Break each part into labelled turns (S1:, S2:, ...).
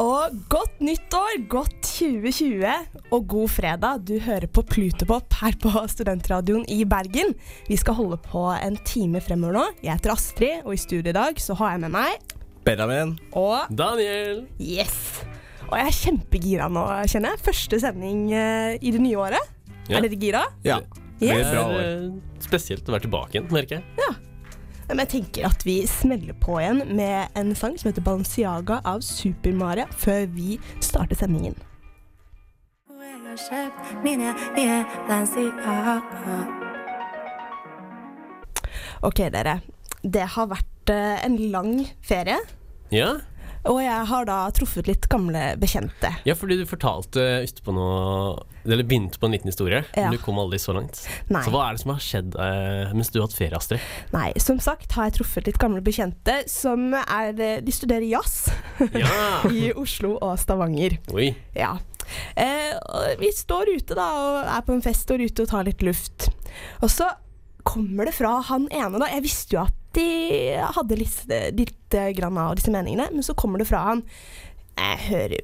S1: Og godt nyttår, godt 2020 og god fredag. Du hører på Plutopop her på Studentradioen i Bergen. Vi skal holde på en time fremover nå. Jeg heter Astrid, og i studio i dag så har jeg med meg
S2: Benjamin.
S1: og
S3: Daniel!
S1: Yes! Og jeg er kjempegira nå, kjenner jeg. Første sending eh, i det nye året.
S3: Ja.
S1: Er dere gira?
S2: Ja.
S1: Ja.
S2: Det
S3: Det
S2: blir
S3: er
S2: bra år.
S3: eh, spesielt å være tilbake igjen, merker jeg.
S1: Ja, Men jeg tenker at vi smeller på igjen med en sang som heter Balenciaga av Super-Maria, før vi starter sendingen.
S4: Hvor jeg har kjøpt mine nye Balenciaga.
S1: Ok, dere. Det har vært eh, en lang ferie,
S3: Ja,
S1: og jeg har da truffet litt gamle bekjente.
S3: ja fordi du fortalte utpå noe Eller begynte på en liten historie,
S1: Ja.
S3: men du kom aldri så langt.
S1: Nei.
S3: Så hva er det som har skjedd eh, mens du har hatt ferie, Astrid?
S1: Nei, som sagt har jeg truffet litt gamle bekjente som er eh, De studerer jazz
S3: Ja!
S1: i Oslo og Stavanger.
S3: Oi.
S1: Ja. Eh, og vi står ute da og er på en fest, står ute og tar litt luft. Og så kommer det fra han ene, da. Jeg visste jo at de hadde litt, litt eh, grann av disse meningene, men så kommer det fra han. Jeg hører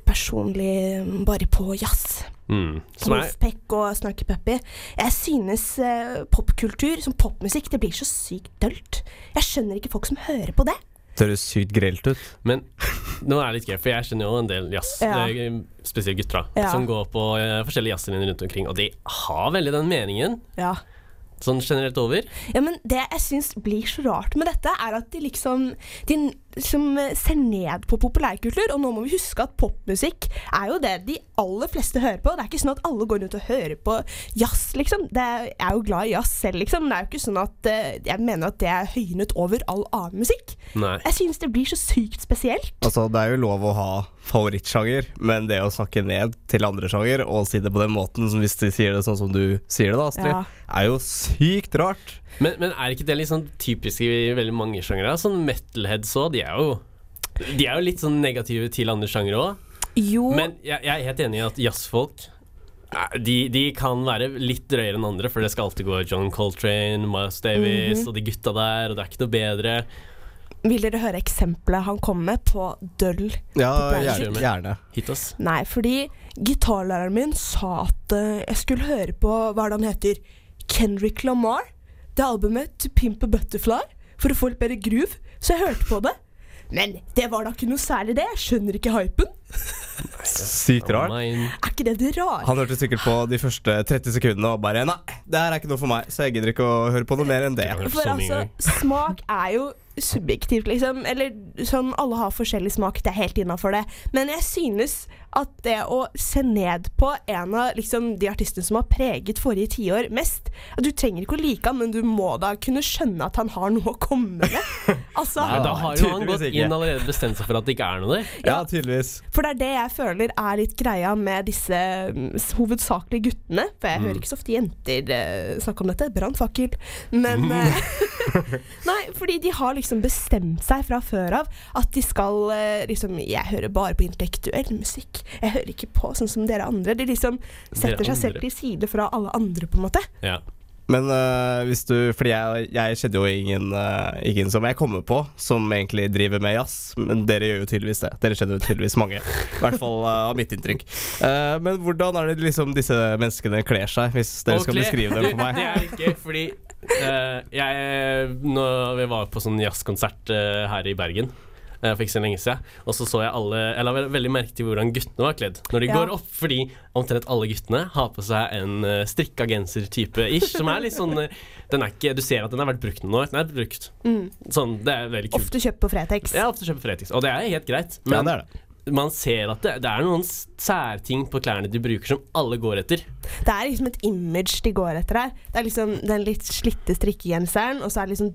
S1: personlig bare på jazz.
S3: Mm. Som er
S1: Wolfpack og Snarky Puppy. Jeg synes eh, popkultur, som popmusikk, det blir så sykt dølt. Jeg skjønner ikke folk som hører på det.
S2: Det høres sykt grelt ut.
S3: Men nå er det litt gøy, for jeg skjønner jo en del jazz,
S1: Ja.
S3: eh, spesielt gutter, da,
S1: Ja.
S3: som går på eh, forskjellige jazzlinjer rundt omkring, og de har veldig den meningen,
S1: Ja.
S3: sånn generelt over.
S1: Ja, men Det jeg syns blir så rart med dette, er at de liksom De n- som eh, ser ned på populærkultur. Og nå må vi huske at popmusikk er jo det de aller fleste hører på. Det er ikke sånn at alle går rundt og hører på jazz, liksom. Det er, jeg er jo glad i jazz selv, liksom. men Det er jo ikke sånn at eh, Jeg mener at det er høynet over all annen musikk.
S3: Nei.
S1: Jeg syns det blir så sykt spesielt.
S2: Altså, Det er jo lov å ha favorittsjanger, men det å snakke ned til andre sjanger og si det på den måten, som hvis de sier det sånn som du sier det, da, Astrid,
S1: Ja.
S2: er jo sykt rart.
S3: Men, men er ikke det litt sånn typisk i veldig mange sjangere? Sånn metalheads òg, de er jo De er jo litt sånn negative til andre sjangere òg.
S1: Jo,
S3: Men jeg, jeg er helt enig i at jazzfolk eh, de, de kan være litt drøyere enn andre, for det skal alltid gå John Coltrane, Miles Davis og de gutta der, og det er ikke noe bedre.
S1: vil dere høre eksempelet han kom med på døll?
S2: Ja,
S1: Populær-
S2: gjerne. gjerne.
S3: Hit oss.
S1: Nei, fordi gitarlæreren min sa at eh, jeg skulle høre på hva er det han heter Kendrick Lamar. Det albumet To Pimp a Butterfly for å få litt bedre groove. Så jeg hørte på det. Men det var da ikke noe særlig, det. Jeg skjønner ikke hypen.
S2: Sykt rart.
S3: Mine.
S1: Er ikke det det rare?
S2: Han hørte sikkert på de første 30 sekundene og bare Nei, det her er ikke noe for meg, så jeg gidder ikke å høre på noe mer enn det.
S3: Jeg har hørt
S1: For
S3: så mye
S1: altså,
S3: ganger.
S1: smak er jo subjektivt, liksom. Eller sånn, alle har forskjellig smak, det er helt innafor det. Men jeg synes at det å se ned på en av liksom, de artistene som har preget forrige tiår mest at Du trenger ikke å like han, men du må da kunne skjønne at han har noe å komme med. Altså,
S3: Nei, da har jo han
S2: tydeligvis
S3: gått
S2: ikke.
S3: inn allerede bestemt seg for at det ikke er noe der.
S2: Ja, tydeligvis.
S1: For det er det jeg føler er litt greia med disse mm, s- hovedsakelig guttene. For
S3: Mm.
S1: jeg hører ikke så ofte jenter eh, snakke om dette. Brannfakkel. Men eh, Nei, fordi de har liksom bestemt seg fra før av at de skal eh, liksom Jeg hører bare på intellektuell musikk. Jeg hører ikke på sånn som dere andre. De liksom setter
S3: Dere
S1: seg selv
S3: andre.
S1: til side fra alle andre, på en måte.
S3: Ja.
S2: Men øh, hvis du Fordi jeg, jeg kjenner jo ingen, øh, ingen som jeg kommer på, som egentlig driver med jazz. Men dere gjør jo tydeligvis det. Dere kjenner jo tydeligvis mange. I hvert fall øh, av mitt inntrykk. Eh, men hvordan er det liksom disse menneskene kler seg, hvis dere
S3: Og
S2: skal
S3: kle-
S2: beskrive dem for meg?
S3: Det er litt gøy, fordi eh, jeg Når vi var på sånn jazzkonsert eh, her i Bergen eh, for ikke så lenge siden, og så så jeg alle Jeg la vel- veldig merke til hvordan guttene var kledd når de
S1: Ja.
S3: går opp, fordi omtrent alle guttene har på seg en eh, strikka genser-type ish, som er litt sånn eh, Den er ikke Du ser at den har vært brukt nå. Den er brukt. Sånn, det er veldig kult.
S1: Ofte kjøpt på Fretex.
S3: Jeg har ofte kjøpt Fretex, og det er helt greit,
S2: Ja,
S3: men
S2: det er det.
S3: man ser at det, det er noen s- særting på klærne de bruker som alle går etter.
S1: Det er liksom et image de går etter her. Det er liksom den litt slitte strikkegenseren, og så er det liksom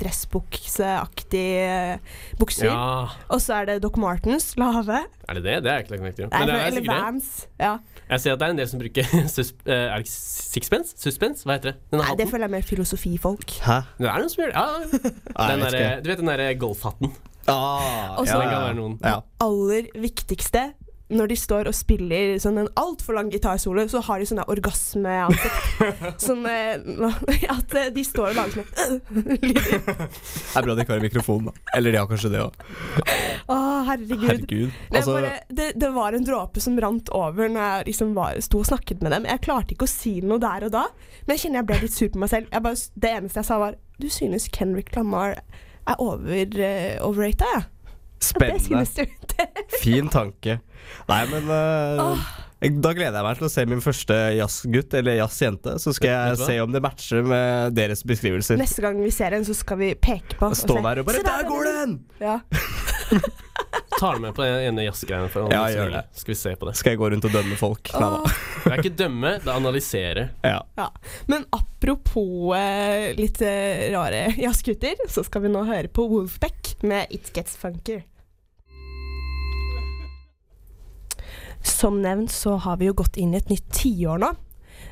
S1: dressbukseaktige bukser.
S3: Ja,
S1: Og så er det Doc Martens, lave.
S3: er det det? Det er jeg ikke lagt merke til.
S1: Nei,
S3: Men det er
S1: eller
S3: sikkert det.
S1: Vans. Ja.
S3: Jeg ser at det er en del som bruker sus eh, Er det ikke sixpence? Suspense? Hva heter det? Denne
S1: Nei, det
S3: hatten?
S1: føler jeg er mer filosofifolk.
S2: Hæ?
S3: Det er noen som gjør det. Ja,
S2: Nei,
S3: den
S2: jeg vet
S3: der,
S2: ikke.
S3: du vet den derre golfhatten?
S2: Ah,
S1: Og så-
S2: ja,
S3: Den kan være noen.
S2: Ja.
S1: Aller viktigste når de står og spiller sånn en altfor lang gitarsolo, så har de sånn der orgasmeansikt. sånn eh, at eh, de står og lager sånn lyder.
S2: Det er bra det ikke har en mikrofon, da. Eller de har kanskje det òg.
S1: Å, herregud.
S2: Herregud.
S1: Det, er
S2: Altså,
S1: bare, det, det var en dråpe som rant over når jeg liksom var, sto og snakket med dem. Jeg klarte ikke å si noe der og da, men jeg kjenner jeg ble litt sur på meg selv. Jeg bare, det eneste jeg sa, var Du synes Kendrick Lamar er over, eh, overrated, ja. Det
S2: spennende.
S1: synes du. Det.
S2: Fin tanke. Nei, men eh, Da gleder jeg meg til å se min første jazzgutt eller jazzjente. Så skal
S3: Vet- vet
S2: jeg
S3: du hva?
S2: se om det matcher med deres beskrivelser.
S1: Neste gang vi ser en, så skal vi peke på
S2: Stå
S1: se.
S2: der og bare
S1: Se
S2: Der går den!
S1: Ja.
S3: Tar du med på den ene jazzgreia?
S2: Ja, gjør det.
S3: Skal vi se på det.
S2: Skal jeg gå rundt og dømme folk? Nei da.
S1: Åh.
S3: Det er ikke dømme, det er analysere.
S2: Ja.
S1: Ja. Men apropos eh, litt eh, rare jazzgutter, så skal vi nå høre på Wolfpack med It Gets Funker. Som nevnt så har vi jo gått inn i et nytt tiår nå.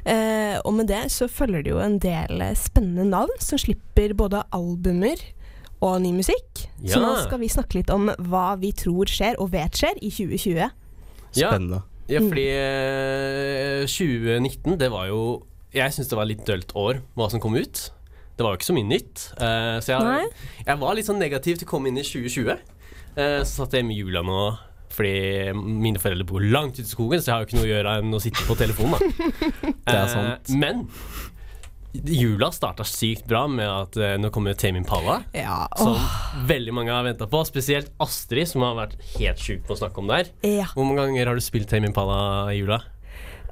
S1: Eh, og med det så følger det jo en del eh, spennende navn som slipper både albumer og ny musikk. Så
S3: Ja.
S1: nå skal vi snakke litt om hva vi tror skjer, og vet skjer, i 2020.
S3: Ja.
S2: Spennende.
S3: Ja,
S1: Mm.
S3: fordi eh, 2019, det var jo Jeg syns det var litt dølt år, hva som kom ut. Det var jo ikke så mye nytt. eh, så
S1: Nei.
S3: jeg, jeg var litt sånn negativ til å komme inn i 2020. Eh, så satt jeg hjemme i jula nå, fordi mine foreldre bor langt ute i skogen, så jeg har jo ikke noe å gjøre enn å sitte på telefonen, da.
S2: Det er
S3: Eh,
S2: sant.
S3: men jula starta sykt bra med at eh, nå kommer Tame Impala.
S1: Ja,
S3: Som
S1: åh,
S3: veldig mange har venta på, spesielt Astrid, som har vært helt sjuk på å snakke om det her.
S1: ja.
S3: Hvor mange ganger har du spilt Tame Impala i jula?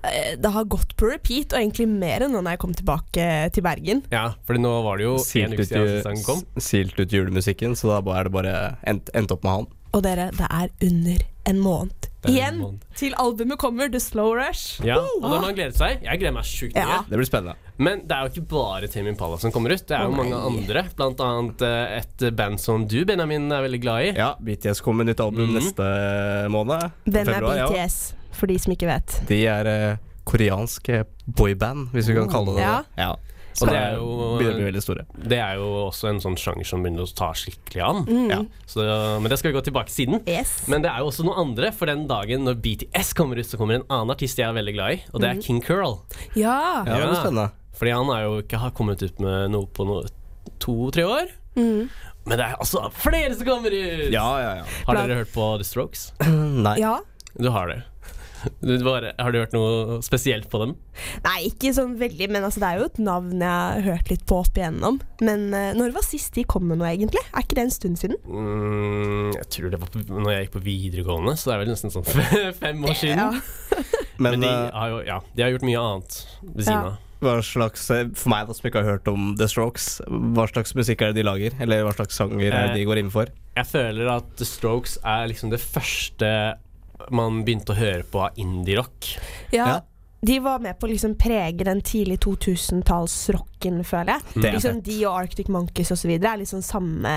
S1: Eh, Det har gått på repeat, og egentlig mer enn når jeg kom tilbake til Bergen.
S3: Ja, for nå var det jo en
S2: Silt
S3: uke
S2: ut,
S3: siden siste sangen kom.
S2: ju- silt ut julemusikken, så da er det bare endt, endt opp med han.
S1: Og dere, det er under en måned.
S3: Det er en
S1: Igjen
S3: måned.
S1: til albumet kommer, The Slow Rush.
S3: Ja, og da har man gledet seg. Jeg gleder meg sjukt mye.
S1: Ja.
S2: Det blir spennende.
S3: Men det er jo ikke bare Tame Impala som kommer ut. Det er jo
S1: Å,
S3: mange
S1: nei.
S3: andre. Blant annet eh, et band som du, Benjamin, er veldig glad i.
S2: Ja, BTS kommer med nytt album
S3: Mhm.
S2: neste måned.
S1: Hvem er
S2: Februar, ja.
S1: BTS, for de som ikke vet?
S2: De er eh, koreanske boyband, hvis vi kan kalle det
S1: Oh. Ja.
S2: det. Ja.
S3: Og
S2: Så
S3: det er jo-
S2: begynner å bli veldig store.
S3: Det er jo også en sånn sjanger som begynner å ta skikkelig an.
S1: Mm.
S2: Ja.
S3: Så, men det skal vi gå tilbake til siden.
S1: Yes.
S3: Men det er jo også noen andre, for den dagen når BTS kommer ut, så kommer en annen artist jeg er veldig glad i, og
S1: Mm.
S3: det er King Curl.
S1: Ja.
S2: Ja, det
S3: Ja.
S2: blir spennende.
S3: Fordi han har jo ikke har kommet ut med noe på no, to-tre år. Men det er altså flere som kommer ut!
S2: Ja, ja, ja.
S3: Har
S1: Blant-
S3: dere hørt på The Strokes?
S2: Nei.
S1: ja.
S3: Du har det. Du bare, har du hørt noe spesielt på dem?
S1: Nei, ikke sånn veldig, men altså, det er jo et navn jeg har hørt litt på opp igjennom. Men eh, når var sist de kom med noe, egentlig? Er ikke det en stund siden?
S3: Mm, jeg tror det var på, når jeg gikk på videregående, så det er vel nesten sånn fe- fem år siden.
S1: Ja.
S2: Men,
S3: Men de
S2: eh,
S3: har jo ja, de har gjort mye annet ved siden
S1: Ja.
S3: av.
S2: Hva slags, eh, For meg da, som ikke har hørt om The Strokes, hva slags musikk er det de lager? Eller hva slags sanger er det de går inn for?
S3: Jeg føler at The Strokes er liksom det første man begynte å høre på av indie-rock.
S1: Ja.
S2: Ja.
S1: De var med på å liksom prege den tidlig 2000-tallsrocken, føler jeg.
S2: Mm. Det er
S1: Liksom De og Arctic Monkeys osv. er liksom samme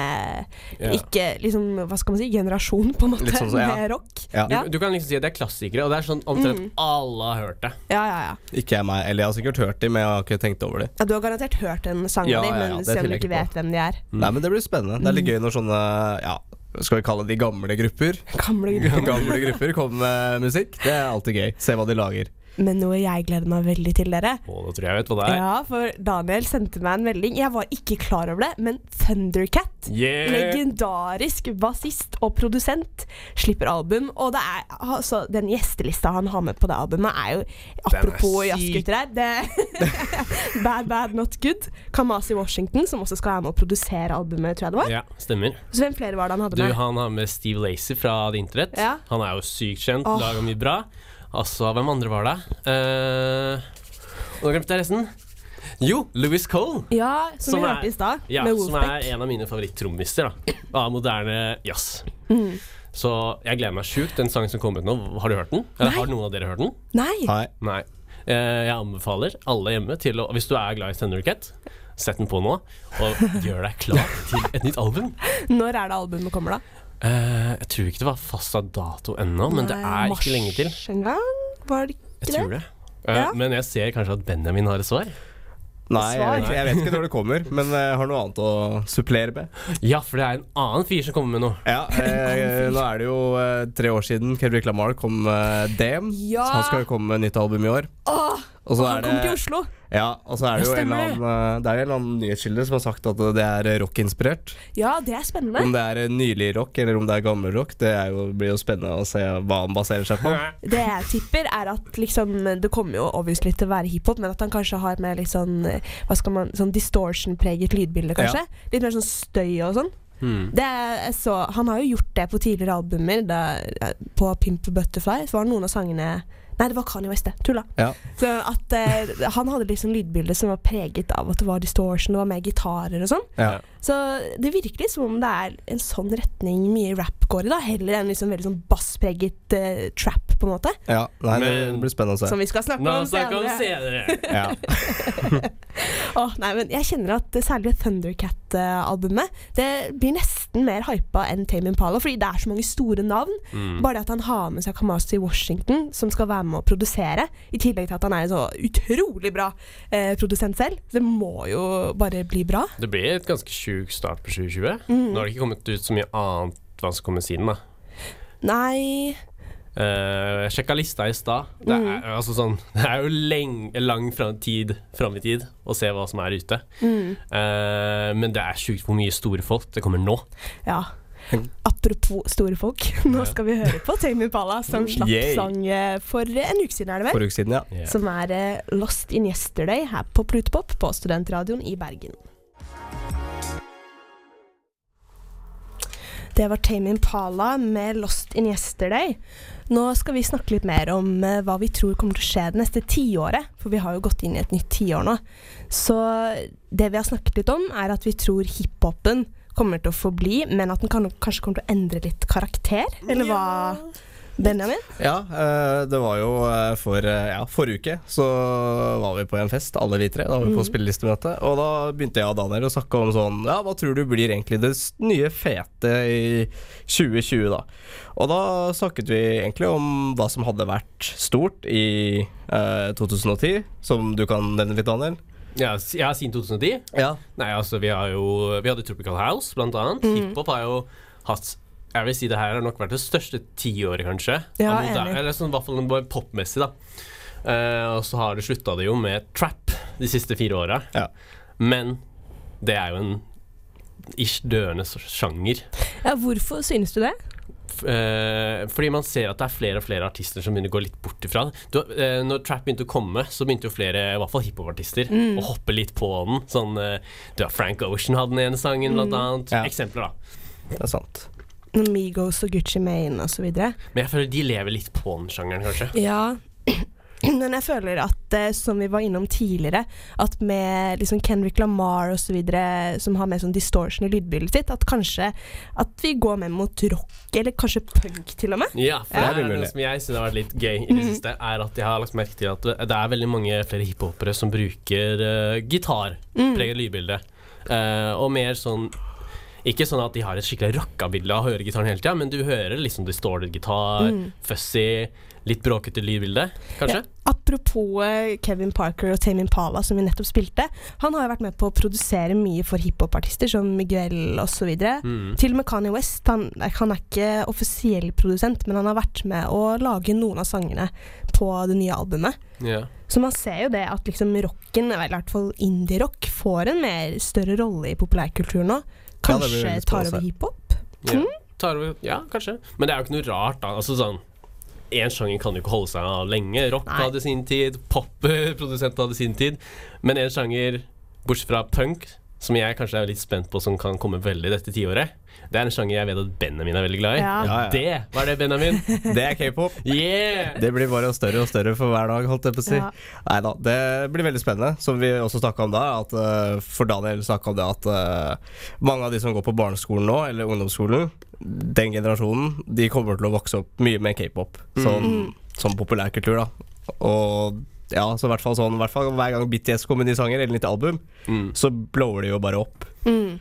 S3: Ja.
S1: Ikke liksom, hva skal man si, generasjon, på en måte,
S2: Litt sånn så- ja.
S1: med rock.
S2: Ja.
S1: Ja. Mm.
S3: Du kan liksom si at det er klassikere, og det er sånn omtrent alle har hørt det.
S1: Ja, ja, ja.
S2: Ikke jeg meg, eller jeg har sikkert hørt de, men jeg har ikke tenkt over de.
S1: ja. Du har garantert hørt en sang av
S2: Ja,
S1: dem,
S2: ja, ja,
S1: men
S2: det
S1: selv om
S2: tviler
S1: du
S2: jeg
S1: ikke
S2: ikke
S1: vet hvem de er.
S2: Nei, men det blir spennende. Det er
S1: Mm.
S2: litt gøy når sånne, ja, skal vi kalle de gamle grupper?
S1: Gamle gutter.
S2: Gamle grupper kommer med musikk. Det er alltid gøy. Se hva de lager.
S1: Men noe jeg gleder meg veldig til, dere.
S3: Og da tror jeg jeg vet hva det er.
S1: Ja, for Daniel sendte meg en melding. Jeg var ikke klar over det, men Thundercat
S3: Yeah.
S1: Legendarisk bassist og produsent slipper album. Og det er, altså, den gjestelista han har med på det albumet, er jo Apropos
S2: syk.
S1: jazzgutter her. Det, bad, bad, not good. Kamasi Washington, som også skal være med å produsere albumet, tror jeg det var.
S3: Ja, stemmer.
S1: Så hvem flere var det han hadde
S3: Du,
S1: med?
S3: han har med Steve Lacey fra The Internet.
S1: Ja.
S3: Han er jo sykt kjent,
S1: Åh.
S3: lager mye bra. Altså, hvem andre var det? Uh, og nå glemte jeg resten. Jo, Louis Cole.
S1: Ja, som,
S3: Som
S1: vi
S3: er-
S1: hørte i stad,
S3: Ja,
S1: med
S3: som er
S1: Wolfpack.
S3: en av mine favoritt-trommister da, av moderne jazz.
S1: Mm.
S3: Så jeg gleder meg sjukt. Den sangen som kom ut nå, har du hørt den? Eller
S1: Nei.
S3: har noen av dere hørt den?
S1: Nei!
S2: Nei.
S3: Nei. Eh, jeg anbefaler alle hjemme til å Hvis du er glad i Thundercat, sett den på nå, og gjør deg klar til et nytt album.
S1: Når er det albumet kommer, da?
S3: Eh, jeg tror ikke det var fastsatt dato ennå, men det
S1: Nei,
S3: er ikke lenge til.
S1: Mars en gang? Var det ikke
S3: Jeg tror det. Eh,
S1: Ja.
S3: Men jeg ser kanskje at Benjamin har et svar.
S2: Nei, jeg vet,
S1: svar.
S2: ikke- jeg vet ikke når det kommer, men jeg har noe annet å supplere med.
S3: Ja, for det er en annen fyr som kommer med noe.
S2: Ja, eh, Nå er det jo eh, tre år siden Kendrick Lamar kom med Dame.
S1: Ja!
S2: Så han skal jo komme med nytt album i år.
S1: Åh,
S2: Og så er
S1: han kommer til
S2: det,
S1: Oslo!
S2: ja, og så er det
S3: Ja,
S2: jo en
S3: stemmer
S2: eller
S3: det.
S2: annen, eh, det er jo en eller annen nyhetskilde som har sagt at det er rockinspirert.
S1: Ja, det er
S2: Om
S1: spennende.
S2: det er eh, nylig rock eller om det er gammel rock, det er jo, blir jo spennende å se hva han baserer seg på.
S1: Det jeg tipper, er at liksom Det kommer jo obviously til å være hiphop, men at han kanskje har mer litt sånn eh, Hva skal man Sånn distortion-preget lydbilde, kanskje. Litt mer sånn støy og sånn.
S3: Hmm.
S1: Det er så, han har jo gjort det på tidligere albumer. Da, eh, på Pimp a Butterfly så var det noen av sangene Nei, det var Kanye West, det. Tulla.
S2: Ja.
S1: Så at eh, Han hadde liksom lydbildet som var preget av at det var distortion, det var mer gitarer og sånn.
S2: Ja.
S1: Så det virker litt som om det er en sånn retning mye rap går i, da. Heller enn liksom veldig sånn basspreget eh, trap, på en måte.
S2: Ja, nei, det
S3: Men-
S2: blir spennende å se.
S1: Som vi skal snakke
S3: Nå
S1: om
S3: snakker vi om
S1: senere.
S3: senere.
S2: Ja.
S1: Åh, nei, men jeg kjenner at eh, særlig Thundercat-albumet Det blir nesten mer hypa enn Tame Impala, fordi det er så mange store navn.
S3: Mm.
S1: Bare det at han har med seg Kamasi Washington, som skal være med å produsere, i tillegg til at han er en så utrolig bra eh, produsent selv. Det må jo bare bli bra.
S3: Det blir et ganske sjuk start på 2020.
S1: Mhm.
S3: Nå har det ikke kommet ut så mye annet hva som kommer siden, da.
S1: Nei
S3: Eh, jeg sjekka lista i stad. Det,
S1: Mhm.
S3: er- altså sånn, det er jo leng, lang fram, tid fram i tid å se hva som er ute.
S1: Mhm.
S3: Eh, men det er sjukt hvor mye store folk det kommer nå.
S1: Ja. Apropos store folk, nå skal vi høre på Tame Impala, som slapp
S2: Yay.
S1: sang eh, for en uke siden, er det vel?
S2: Forrige uke siden, ja.
S1: Som er eh, Lost in Yesterday her på Plutepop på Studentradioen i Bergen. Det var Tame Impala med 'Lost in Yesterday'. Nå skal vi snakke litt mer om eh, hva vi tror kommer til å skje det neste tiåret. For vi har jo gått inn i et nytt tiår nå. Så det vi har snakket litt om, er at vi tror hiphopen kommer til å forbli, men at den kan, kanskje kommer til å endre litt karakter. Eller hva, Benjamin?
S2: Ja, eh, det var jo eh, for eh, ja, forrige uke så var vi på en fest, alle vi tre. Da var vi på spillelistemøte. Og da begynte jeg og Daniel å snakke om sånn Ja, hva tror du blir egentlig det s- nye fete i 2020, da? Og da snakket vi egentlig om hva som hadde vært stort i eh, 2010, som du kan nevne litt, Daniel.
S3: Ja, s- ja, siden 2010.
S2: Ja.
S3: Nei, altså, vi har jo Vi hadde Tropical House, blant annet.
S1: Mm.
S3: Hiphop har jo hatt Jeg vil si det her har nok vært det største tiåret, kanskje.
S1: Ja,
S3: Av moder-
S1: enig.
S3: Eller sånn, i hvert fall bare popmessig, da. Eh, og så har det slutta det jo med trap de siste fire åra.
S2: Ja.
S3: Men det er jo en ish døende s- sjanger.
S1: Ja, hvorfor synes du det?
S3: F- eh, fordi man ser at det er flere og flere artister som begynner å gå litt bort ifra det. Du, eh, når trap begynte å komme, så begynte jo flere, i hvert fall hiphopartister, å hoppe litt på den. Sånn eh, du har Frank Ocean hadde den ene sangen, blant annet.
S2: Ja.
S3: Eksempler, da.
S2: Det er sant.
S1: Migos og Gucci Mane og så videre.
S3: Men jeg føler de lever litt på den sjangeren, kanskje.
S1: Ja. Men jeg føler at, eh, som vi var innom tidligere, at med liksom Kendrick Lamar osv., som har mer sånn distortion i lydbildet sitt, at kanskje at vi går mer mot rock, eller kanskje punk til og med.
S3: Ja, for
S2: Ja, det
S3: det er
S2: blir
S3: noe
S2: mulig.
S3: som jeg syns har vært litt gøy i det siste, er at jeg har lagt merke til at det- det er veldig mange flere hiphopere som bruker eh, gitar, preget lydbilde, Eh, og mer sånn ikke sånn at de har et skikkelig rockabilde av å høre gitaren hele tida, men du hører liksom distorted gitar, fuzzy, litt bråkete lydbilde, kanskje?
S1: Apropos eh, Kevin Parker og Tame Impala, som vi nettopp spilte. Han har jo vært med på å produsere mye for hiphopartister, som Miguel osv.
S3: Mm.
S1: Til og med Kanye West. Han, han er ikke offisiell produsent, men han har vært med å lage noen av sangene på det nye albumet.
S3: Ja.
S1: Så man ser jo det at liksom rocken, eller i hvert fall indie-rock, får en mer større rolle i populærkulturen nå.
S2: Ja, det
S1: Kanskje
S2: blir veldig
S1: tar
S2: spennende å
S1: over
S2: se.
S1: hiphop?
S3: Ja. Tar over, ja, kanskje. Men det er jo ikke noe rart, da. Altså sånn Én sjanger kan jo ikke holde seg av lenge. Rock
S1: Nei.
S3: hadde sin tid, popprodusent hadde sin tid. Men én sjanger, bortsett fra punk, som jeg kanskje er litt spent på, som kan komme veldig dette tiåret, det er en sjanger jeg vet at Benjamin er veldig glad i.
S1: Ja.
S2: Ja, ja.
S3: Det var det, Benjamin.
S2: Det er k-pop.
S3: Yeah!
S2: Det blir bare større og større for hver dag, holdt jeg på å si.
S1: Ja.
S2: Neida, det blir veldig spennende. Som vi også snakka om da, at, eh, for Daniel snakka om det at eh, mange av de som går på barneskolen nå, eller ungdomsskolen, den generasjonen, de kommer til å vokse opp mye med k-pop
S3: Mm.
S2: sånn, som populærkultur, da. Og ja, så i hvert fall sånn, i hvert fall hver gang BTS kommer med nye sanger eller nytt album,
S3: Mm.
S2: så blower de jo bare opp.
S1: Mm.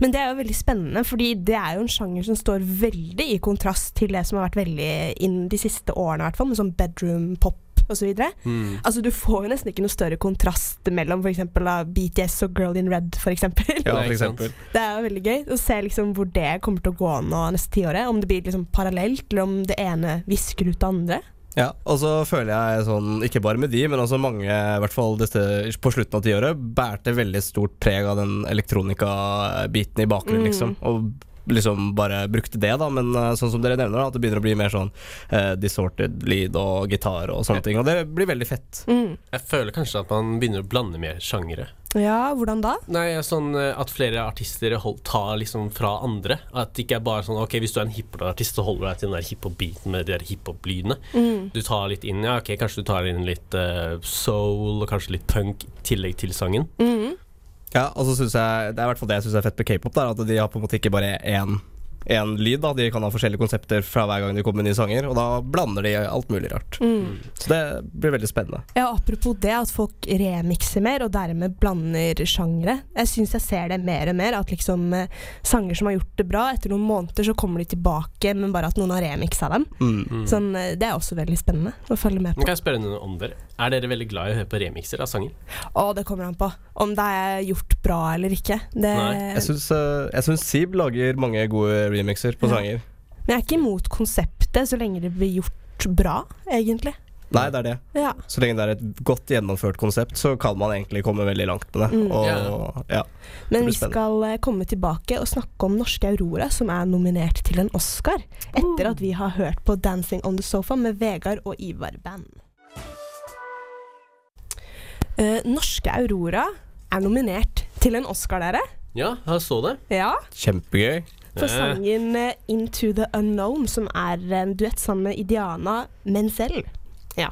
S1: Men det er jo veldig spennende, fordi det er jo en sjanger som står veldig i kontrast til det som har vært veldig inn de siste årene, i hvert fall, med sånn bedroom pop osv. Altså, du får jo nesten ikke noe større kontrast mellom for eksempel, da, BTS og Girl in Red, f.eks.
S2: Ja,
S3: Nei,
S2: for
S3: ikke sant.
S2: eksempel.
S1: Det er jo veldig gøy å se liksom hvor det kommer til å gå nå neste tiåret. Om det blir liksom parallelt, eller om det ene visker ut det andre.
S2: Ja, og så føler jeg sånn, ikke bare med de, men også mange, i hvert fall dette, på slutten av tiåret, bærte veldig stort preg av den elektronikabiten i bakgrunnen, liksom. Og liksom bare brukte det, da. Men eh, sånn som dere nevner, da, at det begynner å bli mer sånn eh, distorted lyd og gitar og sånne ting. Og det blir veldig fett.
S3: Jeg føler kanskje at man begynner å blande mer sjangere.
S1: Ja, hvordan da?
S3: Nei, sånn eh, at flere artister hold, tar liksom fra andre. At det ikke er bare sånn Ok, hvis du er en hiphop-artist, så holder du deg til den der hiphop-beaten med de der hiphop-lydene. Du tar litt inn Ja, ok, kanskje du tar inn litt eh, soul og kanskje litt punk i tillegg til sangen.
S2: Ja, og så synes jeg, Det er i hvert fall det jeg syns er fett med k-pop, da, at de har på en måte ikke bare én én lyd, da. De kan ha forskjellige konsepter fra hver gang de kommer med nye sanger, og da blander de alt mulig rart. Så det blir veldig spennende.
S1: Ja, apropos det at folk remikser mer, og dermed blander sjangere. Jeg syns jeg ser det mer og mer, at liksom eh, sanger som har gjort det bra, etter noen måneder så kommer de tilbake, men bare at noen har remiksa dem.
S2: Mm.
S1: Sånn, eh, det er også veldig spennende å følge med
S3: Nå
S1: på.
S3: kan jeg spørre noe om dere. Er dere veldig glad i å høre på remikser av sanger?
S1: Og det kommer an på om det er gjort bra eller ikke. Det,
S3: Nei,
S2: Jeg syns, eh, jeg syns Sib lager mange gode remixer på
S1: Ja.
S2: sanger.
S1: men jeg er ikke imot konseptet, så lenge det blir gjort bra, egentlig.
S2: Nei, det er det.
S1: Ja.
S2: Så lenge det er et godt gjennomført konsept, så kan man egentlig komme veldig langt med det. Og, ja.
S1: Men
S2: blir
S1: vi skal eh, komme tilbake og snakke om norske Aurora, som er nominert til en Oscar, etter at vi har hørt på 'Dancing on the Sofa' med Vegard og Ivar Band. Eh, norske Aurora er nominert til en Oscar, dere.
S3: Ja, jeg så det.
S1: Ja.
S2: Kjempegøy.
S1: For
S3: Eh.
S1: sangen eh, 'Into the Unknown', som er en duett sammen med Idiana Menzel. Ja.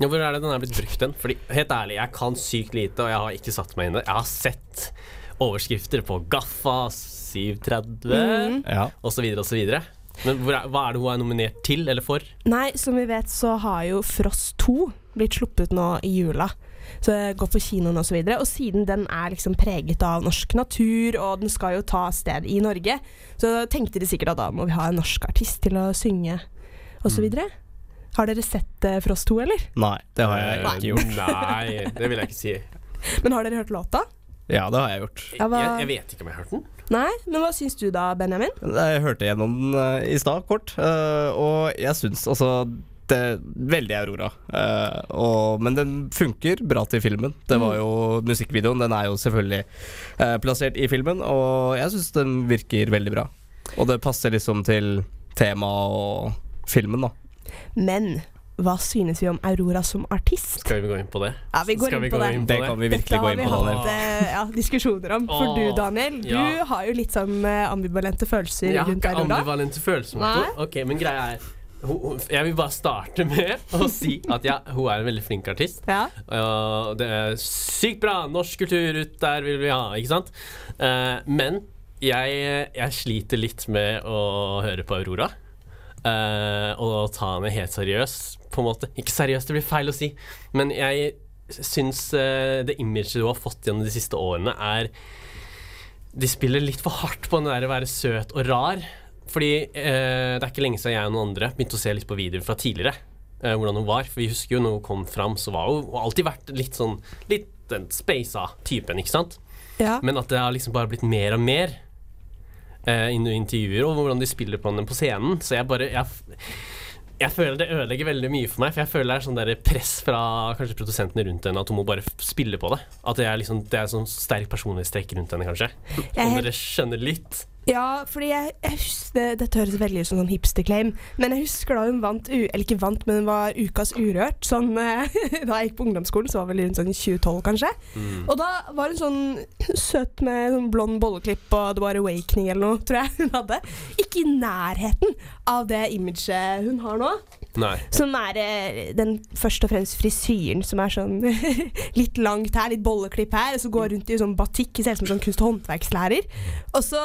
S3: Ja, hvor er det den er blitt brukt den? Fordi, helt ærlig, jeg kan sykt lite, og jeg har ikke satt meg inn i det. Jeg har sett overskrifter på Gaffa, 730
S2: Ja.
S3: og så videre og så videre. Men hvor er, hva er det hun er nominert til, eller for?
S1: Nei, som vi vet så har jo Frost 2 blitt sluppet nå i jula. Så det går på kinoen og så videre. Og siden den er liksom preget av norsk natur, og den skal jo ta sted i Norge, så tenkte de sikkert at da må vi ha en norsk artist til å synge og
S3: Mm.
S1: så videre. Har dere sett eh, Frost 2, eller?
S2: Nei, det har jeg ikke gjort.
S3: Nei, det vil jeg ikke si.
S1: Men har dere hørt låta?
S2: Ja, det har jeg gjort.
S1: Ja,
S3: Jeg,
S1: hva-
S3: jeg vet ikke om jeg har hørt den.
S1: Nei? Men hva syns du da, Benjamin?
S2: Jeg hørte gjennom den eh, i stad, kort, eh, og jeg syns altså det er Veldig Aurora. eh, og, men den funker bra til filmen. Det var jo Musikkvideoen den er jo selvfølgelig eh, plassert i filmen, og jeg syns den virker veldig bra. Og det passer liksom til temaet og filmen, da.
S1: Men hva synes vi om Aurora som artist?
S3: Skal vi gå inn på det?
S1: Ja, vi går
S3: Skal
S1: inn
S3: vi
S1: på
S3: gå
S1: det.
S3: inn
S2: Det kan vi virkelig gå inn på,
S1: Dette har vi
S2: Daniel.
S1: hatt eh, ja, diskusjoner om. For
S3: Åh,
S1: du, Daniel, du
S3: ja.
S1: har jo litt sånn eh, ambivalente følelser
S3: Jeg har
S1: rundt
S3: ikke
S1: Aurora.
S3: ambivalente følelser.
S1: Nei.
S3: Marco. Ok, men greia er hun- hun- Jeg vil bare starte med å si at jeg, hun er en veldig flink artist.
S1: Ja.
S3: Ja, det er sykt bra! Norsk kultur ut der vil vi ha, ikke sant? Eh, men jeg, jeg sliter litt med å høre på Aurora. eh, og ta henne helt seriøst, på en måte. Ikke seriøst, det blir feil å si. Men jeg syns eh, det imaget hun har fått gjennom de siste årene, er De spiller litt for hardt på den der å være søt og rar. Fordi eh, det er ikke lenge siden jeg og noen andre begynte å se litt på videoer fra tidligere eh, hvordan hun var. For vi husker jo når hun kom fram, så var hun, hun har alltid vært litt sånn Litt den speisa typen, ikke sant?
S1: Ja.
S3: Men at det har liksom bare blitt mer og mer eh, inn- intervjuer, og hvordan de spiller på henne på scenen. Så jeg bare jeg, f- jeg føler det ødelegger veldig mye for meg, for jeg føler det er sånn der press fra kanskje produsentene rundt henne, at hun må bare f- spille på det. At det er liksom Det er sånn sterk personlighetstrekk rundt henne, kanskje.
S1: Jeg er
S3: Om
S1: helt-
S3: dere skjønner litt.
S1: Ja, fordi jeg, jeg husker, det- Dette høres veldig ut som sånn hipster-claim, men jeg husker da hun vant u, Eller ikke vant, men hun var Ukas Urørt. Sånn, eh, da jeg gikk på ungdomsskolen, så var vel rundt sånn 2012, kanskje.
S3: Mm.
S1: Og da var hun sånn søt med sånn blond bolleklipp og det var awakening eller noe, tror jeg hun hadde. Ikke i nærheten av det imaget hun har nå.
S3: Nei.
S1: Som er eh, den først og fremst frisyren som er sånn litt langt her, litt bolleklipp her, og så går rundt i sånn batikk, ser ut som sånn kunst- og håndverkslærer. Og så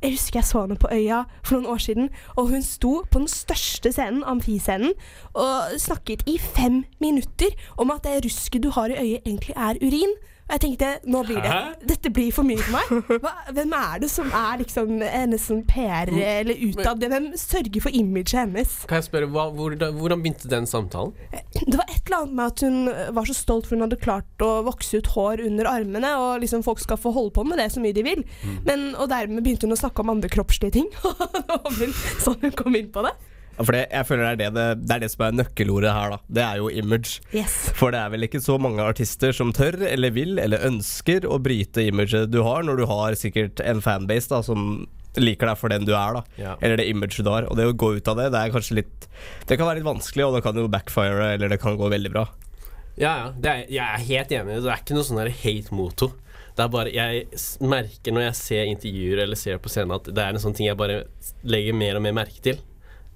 S1: jeg husker jeg så henne på Øya for noen år siden, og hun sto på den største scenen, amfiscenen, og snakket i fem minutter om at det rusket du har i øyet egentlig er urin. Og jeg tenkte nå blir det
S3: Hæ?
S1: Dette blir for mye for meg. Hva, hvem er det som er liksom hennes sånn PR eller utad? Hvem sørger for imaget hennes?
S3: Kan jeg spørre, hva, hvor, Hvordan begynte den samtalen?
S1: Det var et eller annet med at hun var så stolt for hun hadde klart å vokse ut hår under armene, og liksom folk skal få holde på med det så mye de vil. Men, og dermed begynte hun å snakke om andre kroppslige ting. Og det var vel sånn hun kom inn på det.
S2: Ja, For det, jeg føler det er det, det, det er det som er nøkkelordet her, da. Det er jo image.
S1: Yes.
S2: For det er vel ikke så mange artister som tør, eller vil, eller ønsker å bryte imaget du har, når du har sikkert en fanbase da, som liker deg for den du er, da.
S3: Ja.
S2: Eller det imaget du har. Og det å gå ut av det, det er kanskje litt Det kan være litt vanskelig, og det kan jo backfire, eller det kan gå veldig bra.
S3: Ja, ja. Det er, jeg er helt enig. Det er ikke noe sånn der hate-moto. Det er bare, Jeg s- merker når jeg ser intervjuer eller ser på scenen, at det er en sånn ting jeg bare legger mer og mer merke til.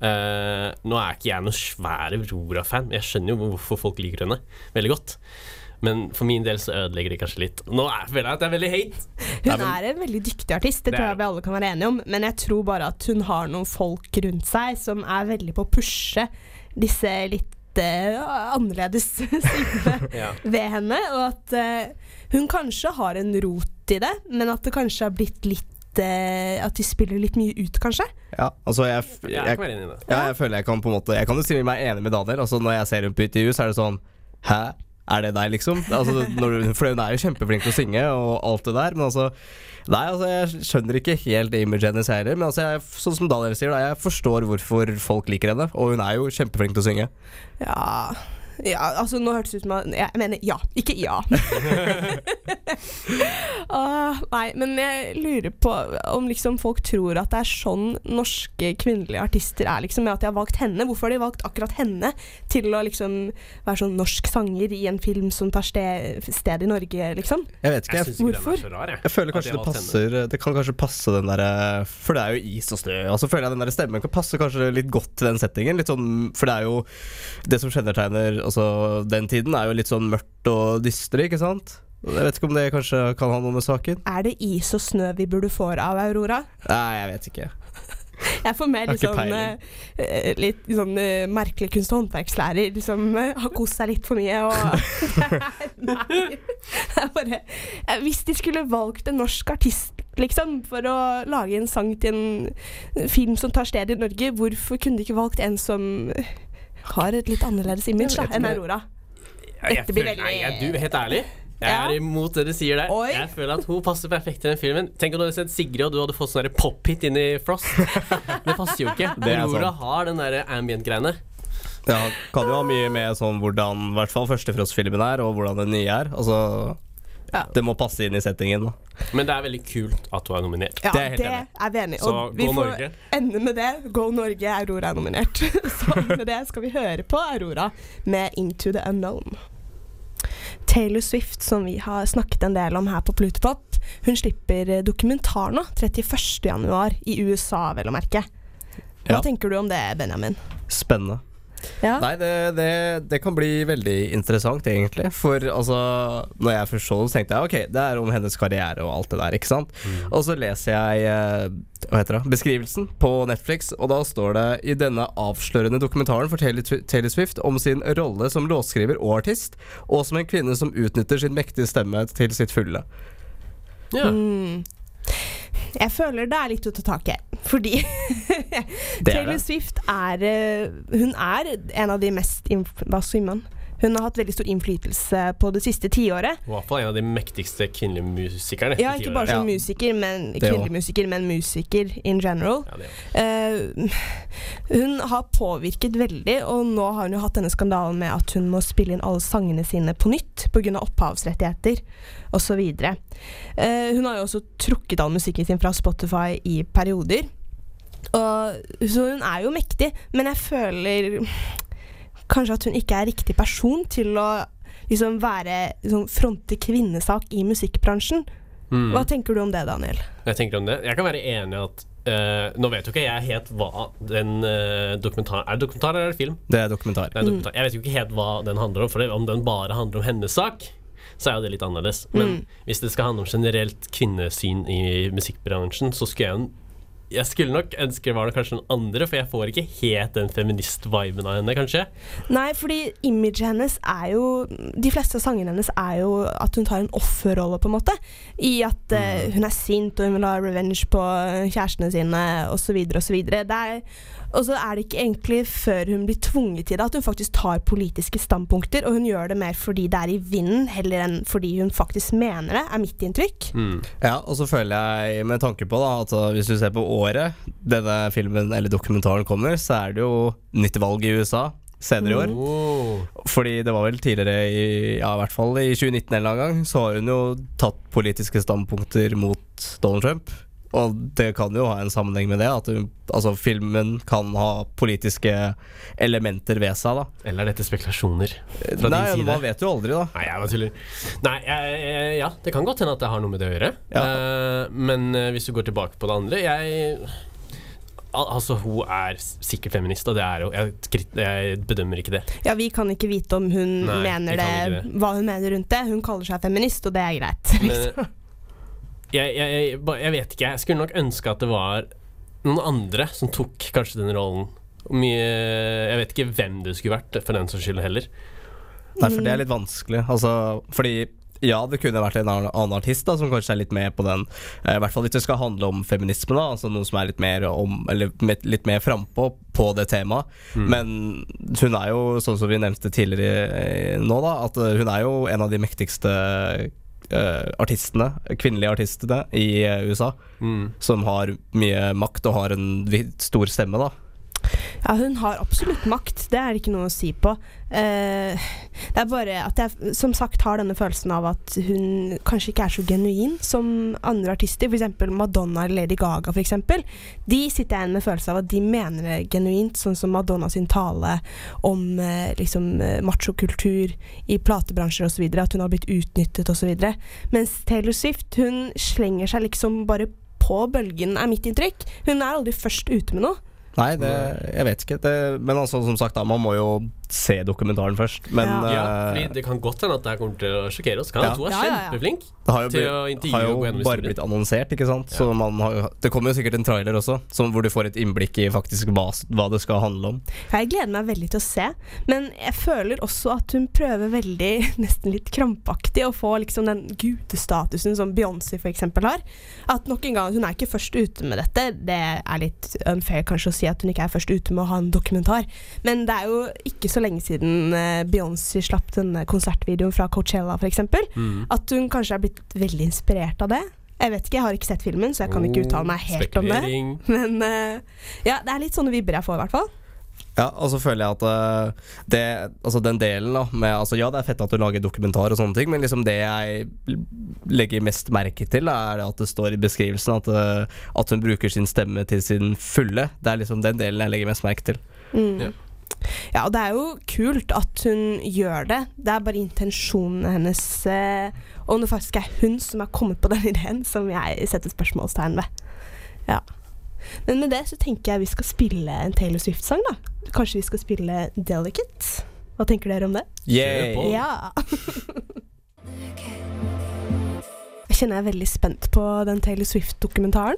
S3: Eh, nå er ikke jeg noen svær Aurora-fan. Jeg skjønner jo hvorfor folk liker henne veldig godt. Men for min del så ødelegger det kanskje litt. Nå er, føler jeg at det er veldig hate.
S1: Hun er en veldig dyktig artist, det
S3: Det
S1: tror
S3: er
S1: jeg vi alle kan være enige om. Men jeg tror bare at hun har noen folk rundt seg som er veldig på å pushe disse litt eh, annerledes sidene
S3: Ja.
S1: ved henne. Og at eh, hun kanskje har en rot i det, men at det kanskje har blitt litt eh, At de spiller litt mye ut, kanskje.
S2: Ja, altså jeg, f-
S3: Jeg
S2: jeg-
S3: kan være enig i det.
S2: Ja, jeg føler jeg kan på en måte Jeg kan jo si meg enig med Daniel. Altså Når jeg ser hun på intervju, så er det sånn Hæ? Er det deg, liksom? Altså, når du, for hun er jo kjempeflink til å synge og alt det der, men altså Nei, altså jeg skjønner ikke helt det imaget hennes heller, men altså jeg, sånn som Daniel sier, da, jeg forstår hvorfor folk liker henne, og hun er jo kjempeflink til å synge.
S1: Ja, ja altså nå hørtes det ut som at Jeg mener ja, ikke ja. Åh, nei, men jeg lurer på om liksom folk tror at det er sånn norske kvinnelige artister er, liksom, med at de har valgt henne. Hvorfor har de valgt akkurat henne til å liksom være sånn norsk sanger i en film som tar sted, sted i Norge, liksom?
S2: Jeg vet ikke,
S3: Jeg
S2: jeg,
S3: syns ikke den
S1: hvorfor?
S3: er så rar, jeg.
S2: jeg føler
S3: At
S2: kanskje
S3: jeg
S2: det
S3: valgte henne.
S2: passer Det kan kanskje passe den derre For det er jo is og snø, og så føler jeg den der stemmen kan passe kanskje litt godt til den settingen. Litt sånn, for det er jo Det som kjennetegner altså, den tiden, er jo litt sånn mørkt og dystre, ikke sant? Jeg vet ikke om det kanskje kan ha noe med saken?
S1: Er det is og snø vi burde få av Aurora?
S2: Nei, jeg vet ikke.
S1: Jeg får mer
S2: Har
S1: litt
S2: ikke
S1: sånn,
S2: peiling.
S1: eh, litt sånn eh, merkelig kunst- og håndverkslærer. Liksom, eh, har kost seg litt for mye og Nei. Det er bare, eh, hvis de skulle valgt en norsk artist liksom, for å lage en sang til en eh, film som tar sted i Norge, hvorfor kunne de ikke valgt en som eh, har et litt annerledes image da, enn Aurora?
S3: Jeg, jeg
S1: Dette blir
S3: føler,
S1: veldig-
S3: nei, jeg, du, helt ærlig. Jeg
S1: Ja.
S3: er imot det du sier der.
S1: Oi.
S3: Jeg føler at hun passer perfekt til den filmen. Tenk om du hadde sett Sigrid, og du hadde fått sånn der pop-hit inn i Frost. Det passer jo ikke.
S2: Det er
S3: Aurora
S2: sant.
S3: har den derre ambient-greiene.
S2: Det har- kan jo ha mye med sånn hvordan i hvert fall første Frost-filmen er, og hvordan den nye er. Altså
S1: Ja.
S2: Det må passe inn i settingen. da.
S3: Men det er veldig kult at hun er nominert.
S1: Ja,
S2: Det er jeg helt
S1: det
S2: enig
S1: er vi enige i.
S3: Så
S1: Og vi
S3: gå
S1: får
S3: Norge.
S1: ende med det. Go Norge, Aurora er nominert. Så med det skal vi høre på Aurora med Into the Unknown. Taylor Swift, som vi har snakket en del om her på Plutepop, hun slipper eh, dokumentar nå, 31. januar, i USA, vel å merke. Hva
S2: Ja.
S1: tenker du om det, Benjamin?
S2: Spennende.
S1: Ja.
S2: Nei, det, det, det kan bli veldig interessant, egentlig. For altså, når jeg først så det, så tenkte jeg ok, det er om hennes karriere og alt det der, ikke sant.
S1: Mm.
S2: Og så leser jeg eh, hva heter det, beskrivelsen på Netflix, og da står det i denne avslørende dokumentaren for Taylor, Taylor Swift om sin rolle som låtskriver og artist, og som en kvinne som utnytter sin mektige stemme til sitt fulle.
S3: Ja.
S1: Mm. Jeg føler det er litt å ta tak i, fordi
S2: Det er
S1: Taylor
S2: det.
S1: Swift er eh, Hun er en av de mest inf- Hva sier man? Hun har hatt veldig stor innflytelse på det siste tiåret.
S3: I hvert fall en av de mektigste kvinnelige musikerne.
S1: Ja,
S3: i
S1: ikke
S3: tiåret.
S1: bare som
S2: Ja.
S1: musiker, men
S2: Det
S1: kvinnelig
S2: også.
S1: musiker, men musiker in general.
S3: Ja, det er jo-
S1: Eh, hun har påvirket veldig, og nå har hun jo hatt denne skandalen med at hun må spille inn alle sangene sine på nytt pga. opphavsrettigheter osv. Uh, hun har jo også trukket all musikken sin fra Spotify i perioder. Og, så hun er jo mektig, men jeg føler kanskje at hun ikke er riktig person til å liksom være liksom, fronte kvinnesak i musikkbransjen.
S3: Mm.
S1: Hva tenker du om det, Daniel?
S3: Jeg tenker om det. Jeg kan være enig i at eh, Nå vet jo ikke jeg helt hva den eh, dokumentaren Er det dokumentar eller er det film?
S2: Det er dokumentar.
S3: Det er dokumentar. Jeg vet jo ikke helt hva den handler om, for det- om den bare handler om hennes sak, så er jo det litt annerledes. Men hvis det skal handle om generelt kvinnesyn i musikkbransjen, så skulle jeg jo Jeg skulle nok ønske det var det kanskje noen andre, for jeg får ikke helt den feminist-viben av henne, kanskje.
S1: Nei, fordi imaget hennes er jo De fleste av sangene hennes er jo at hun tar en offerrolle, på en måte. I at
S3: Mm.
S1: eh, hun er sint, og hun vil ha revenge på kjærestene sine, osv., osv. Og så er det ikke egentlig før hun blir tvunget til det, at hun faktisk tar politiske standpunkter. Og hun gjør det mer fordi det er i vinden, heller enn fordi hun faktisk mener det, er mitt inntrykk.
S3: Mm.
S2: Ja, og så føler jeg med tanke på da, at uh, hvis du ser på året denne filmen eller dokumentaren kommer, så er det jo nytt valg i USA senere i år.
S3: Oh.
S2: Fordi det var vel tidligere, i, ja i hvert fall i 2019 en eller annen gang, så har hun jo tatt politiske standpunkter mot Donald Trump. Og det kan jo ha en sammenheng med det, at hun, altså, filmen kan ha politiske elementer ved seg. da.
S3: Eller er dette spekulasjoner fra
S2: Nei,
S3: din side?
S2: man vet jo aldri, da.
S3: Nei, jeg bare tuller. Nei, jeg, jeg, ja, det kan godt hende at det har noe med det å gjøre. Eh, men eh, hvis du går tilbake på det andre Jeg al Altså, hun er s- sikkert feminist, og det er hun. Jeg, krit- jeg bedømmer ikke det.
S1: Ja, vi kan ikke vite om hun
S3: Nei, vi
S1: mener det,
S3: kan ikke det.
S1: hva hun mener rundt det. Hun kaller seg feminist, og det er greit.
S3: Men jeg, jeg, jeg, ba- jeg vet ikke. Jeg skulle nok ønske at det var noen andre som tok kanskje den rollen. Mye, jeg vet ikke hvem det skulle vært, for den saks skyld heller.
S2: Nei, for det er litt vanskelig. Altså, fordi ja, det kunne vært en annen- annen artist da, som kanskje er litt med på den. Eh, I hvert fall hvis det skal handle om feminisme, da, altså noe som er litt mer, om, eller, med- litt mer frampå på det temaet. Men hun er jo, sånn som vi nevnte tidligere eh, nå, da, at eh, hun er jo en av de mektigste eh, artistene, kvinnelige artistene i eh, USA,
S3: Mm.
S2: som har mye makt og har en vi- stor stemme, da.
S1: Ja, hun har absolutt makt, det er det ikke noe å si på. Eh, det er bare at jeg som sagt har denne følelsen av at hun kanskje ikke er så genuin som andre artister, f.eks. Madonna eller Lady Gaga. For eksempel. de sitter jeg igjen med følelsen av at de mener det genuint, sånn som Madonna sin tale om eh, liksom, eh, machokultur i platebransjer osv., at hun har blitt utnyttet osv. Mens Taylor Swift hun slenger seg liksom bare på bølgen, er mitt inntrykk. Hun er aldri først ute med noe.
S2: Nei, det, jeg vet ikke. Det, men altså, som sagt, da, man må jo se dokumentaren først. Men
S1: Ja.
S2: eh,
S3: Ja, fordi Det kan godt hende at det her kommer til å sjokkere oss. Kan
S2: Ja.
S3: ja. Hun er
S1: Ja, ja, ja.
S3: kjempeflink.
S2: det har jo,
S3: til
S2: blitt-
S3: å intervjue
S2: har
S3: og gå
S2: jo
S3: gjennom
S2: bare
S3: historien.
S2: blitt annonsert, ikke sant. Så man har, jo- det kommer jo sikkert en trailer også, som, hvor du får et innblikk i faktisk hva, s- hva det skal handle om.
S1: Ja, Jeg gleder meg veldig til å se, men jeg føler også at hun prøver veldig, nesten litt krampaktig, å få liksom den gudestatusen som Beyoncé f.eks. har. At nok en gang, hun er ikke først ute med dette. Det er litt unfair kanskje å si at hun ikke er først ute med å ha en dokumentar, men det er jo ikke så lenge siden eh, Beyoncé slapp denne konsertvideoen fra Coachella f.eks.
S3: Mm.
S1: At hun kanskje er blitt veldig inspirert av det. Jeg vet ikke, jeg har ikke sett filmen, så jeg kan ikke uttale meg helt om det.
S3: Oh, Spekulering.
S1: Men eh, ja, det er litt sånne vibber jeg får, i hvert fall.
S2: Ja, og så føler jeg at eh, det, altså den delen da med, altså Ja, det er fett at du lager dokumentar og sånne ting, men liksom det jeg legger mest merke til, er at det står i beskrivelsen at, eh, at hun bruker sin stemme til sin fulle. Det er liksom den delen jeg legger mest merke til.
S1: Mm. Ja, og det er jo kult at hun gjør det. Det er bare intensjonene hennes, eh, og om det faktisk er hun som har kommet på den ideen, som jeg setter spørsmålstegn ved. Ja. Men med det så tenker jeg vi skal spille en Taylor Swift-sang, da. Kanskje vi skal spille 'Delicate'? Hva tenker dere om det?
S3: Kjør på.
S1: Ja. Jeg kjenner jeg er veldig spent på den Taylor Swift-dokumentaren.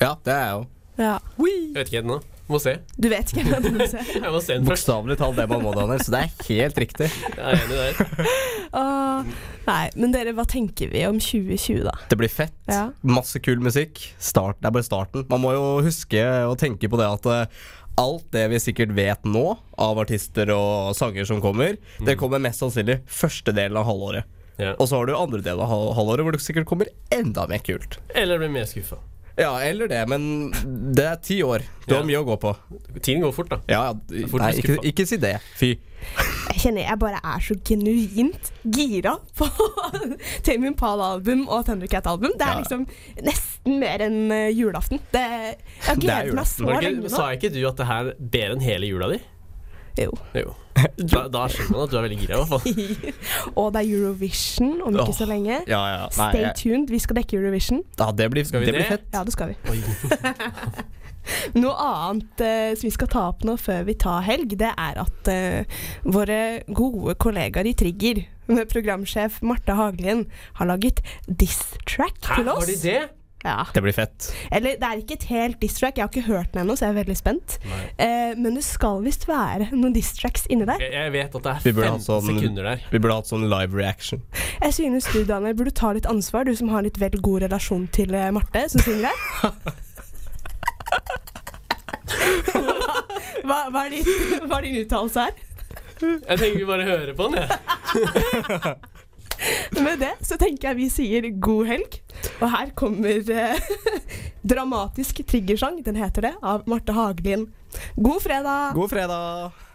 S2: Ja, det er jeg jo.
S1: Ja.
S3: Jeg vet ikke ennå. Må se.
S1: Du vet ikke hva du må se?
S3: Jeg må se den først.
S2: Bokstavelig talt det man må, Daniel, så det er helt riktig.
S3: Jeg er enig der.
S1: Åh, nei, men dere, hva tenker vi om 2020, da?
S2: Det blir fett.
S1: Ja.
S2: Masse kul musikk. Start, det er bare starten. Man må jo huske å tenke på det at eh, alt det vi sikkert vet nå av artister og sanger som kommer, det kommer mest sannsynlig første delen av halvåret.
S3: Mm. Ja.
S2: Og så har du andre delen av hal- halvåret hvor det sikkert kommer enda mer kult.
S3: Eller blir mer skuffa.
S2: Ja, eller det, men det er ti år. Du har
S3: Ja.
S2: mye å gå på.
S3: Tiden går fort, da.
S2: Ja,
S3: er fort
S2: nei,
S3: å bli
S2: ikke,
S3: skuffet.
S2: ikke si det. Fy.
S1: Jeg kjenner jeg bare er så genuint gira på Tame Impala-album og Thundercat-album. Det er
S2: Ja.
S1: liksom nesten mer enn eh, julaften. Det, jeg
S2: Det er
S1: gleder meg
S2: julaften.
S1: så
S3: Var det
S1: lenge
S3: ikke,
S1: nå.
S3: sa ikke du at det her ber enn hele jula di?
S1: Jo.
S3: Jo. Da, da skjønner man at du er veldig gira, i hvert fall.
S1: og det er Eurovision om ikke så lenge.
S2: Ja, ja. Nei,
S1: Stay
S2: jeg,
S1: tuned, vi skal dekke Eurovision.
S2: ja, det blir,
S3: Skal vi
S2: det blir
S3: det?
S2: fett.
S1: Ja, det skal vi.
S3: Oi.
S1: Noe annet eh, som vi skal ta opp nå før vi tar helg, det er at eh, våre gode kollegaer i Trigger, med programsjef Marte Haglien, har laget diss track
S3: Hæ,
S1: til oss.
S3: var de det?
S1: Ja.
S2: Det blir fett.
S1: Eller det er ikke et helt diss-track, jeg har ikke hørt den ennå, så jeg er veldig spent.
S3: Nei.
S1: Eh, men det skal visst være noen diss-tracks inni der.
S3: Jeg, jeg vet at det er
S2: Vi burde
S3: 15
S2: ha sånn-
S3: sekunder der.
S2: Vi burde hatt sånn live reaction.
S1: Jeg synes du, Daniel, burde ta litt ansvar, du som har litt vel god relasjon til eh, Marte, som synger her. Hva, hva er din, hva er din uttalelse her?
S3: Jeg tenker vi bare hører på den, jeg.
S1: Med det så tenker jeg vi sier god helg. Og her kommer eh, dramatisk triggersang, den heter det, av Marte Hagelin. God fredag!
S2: God fredag!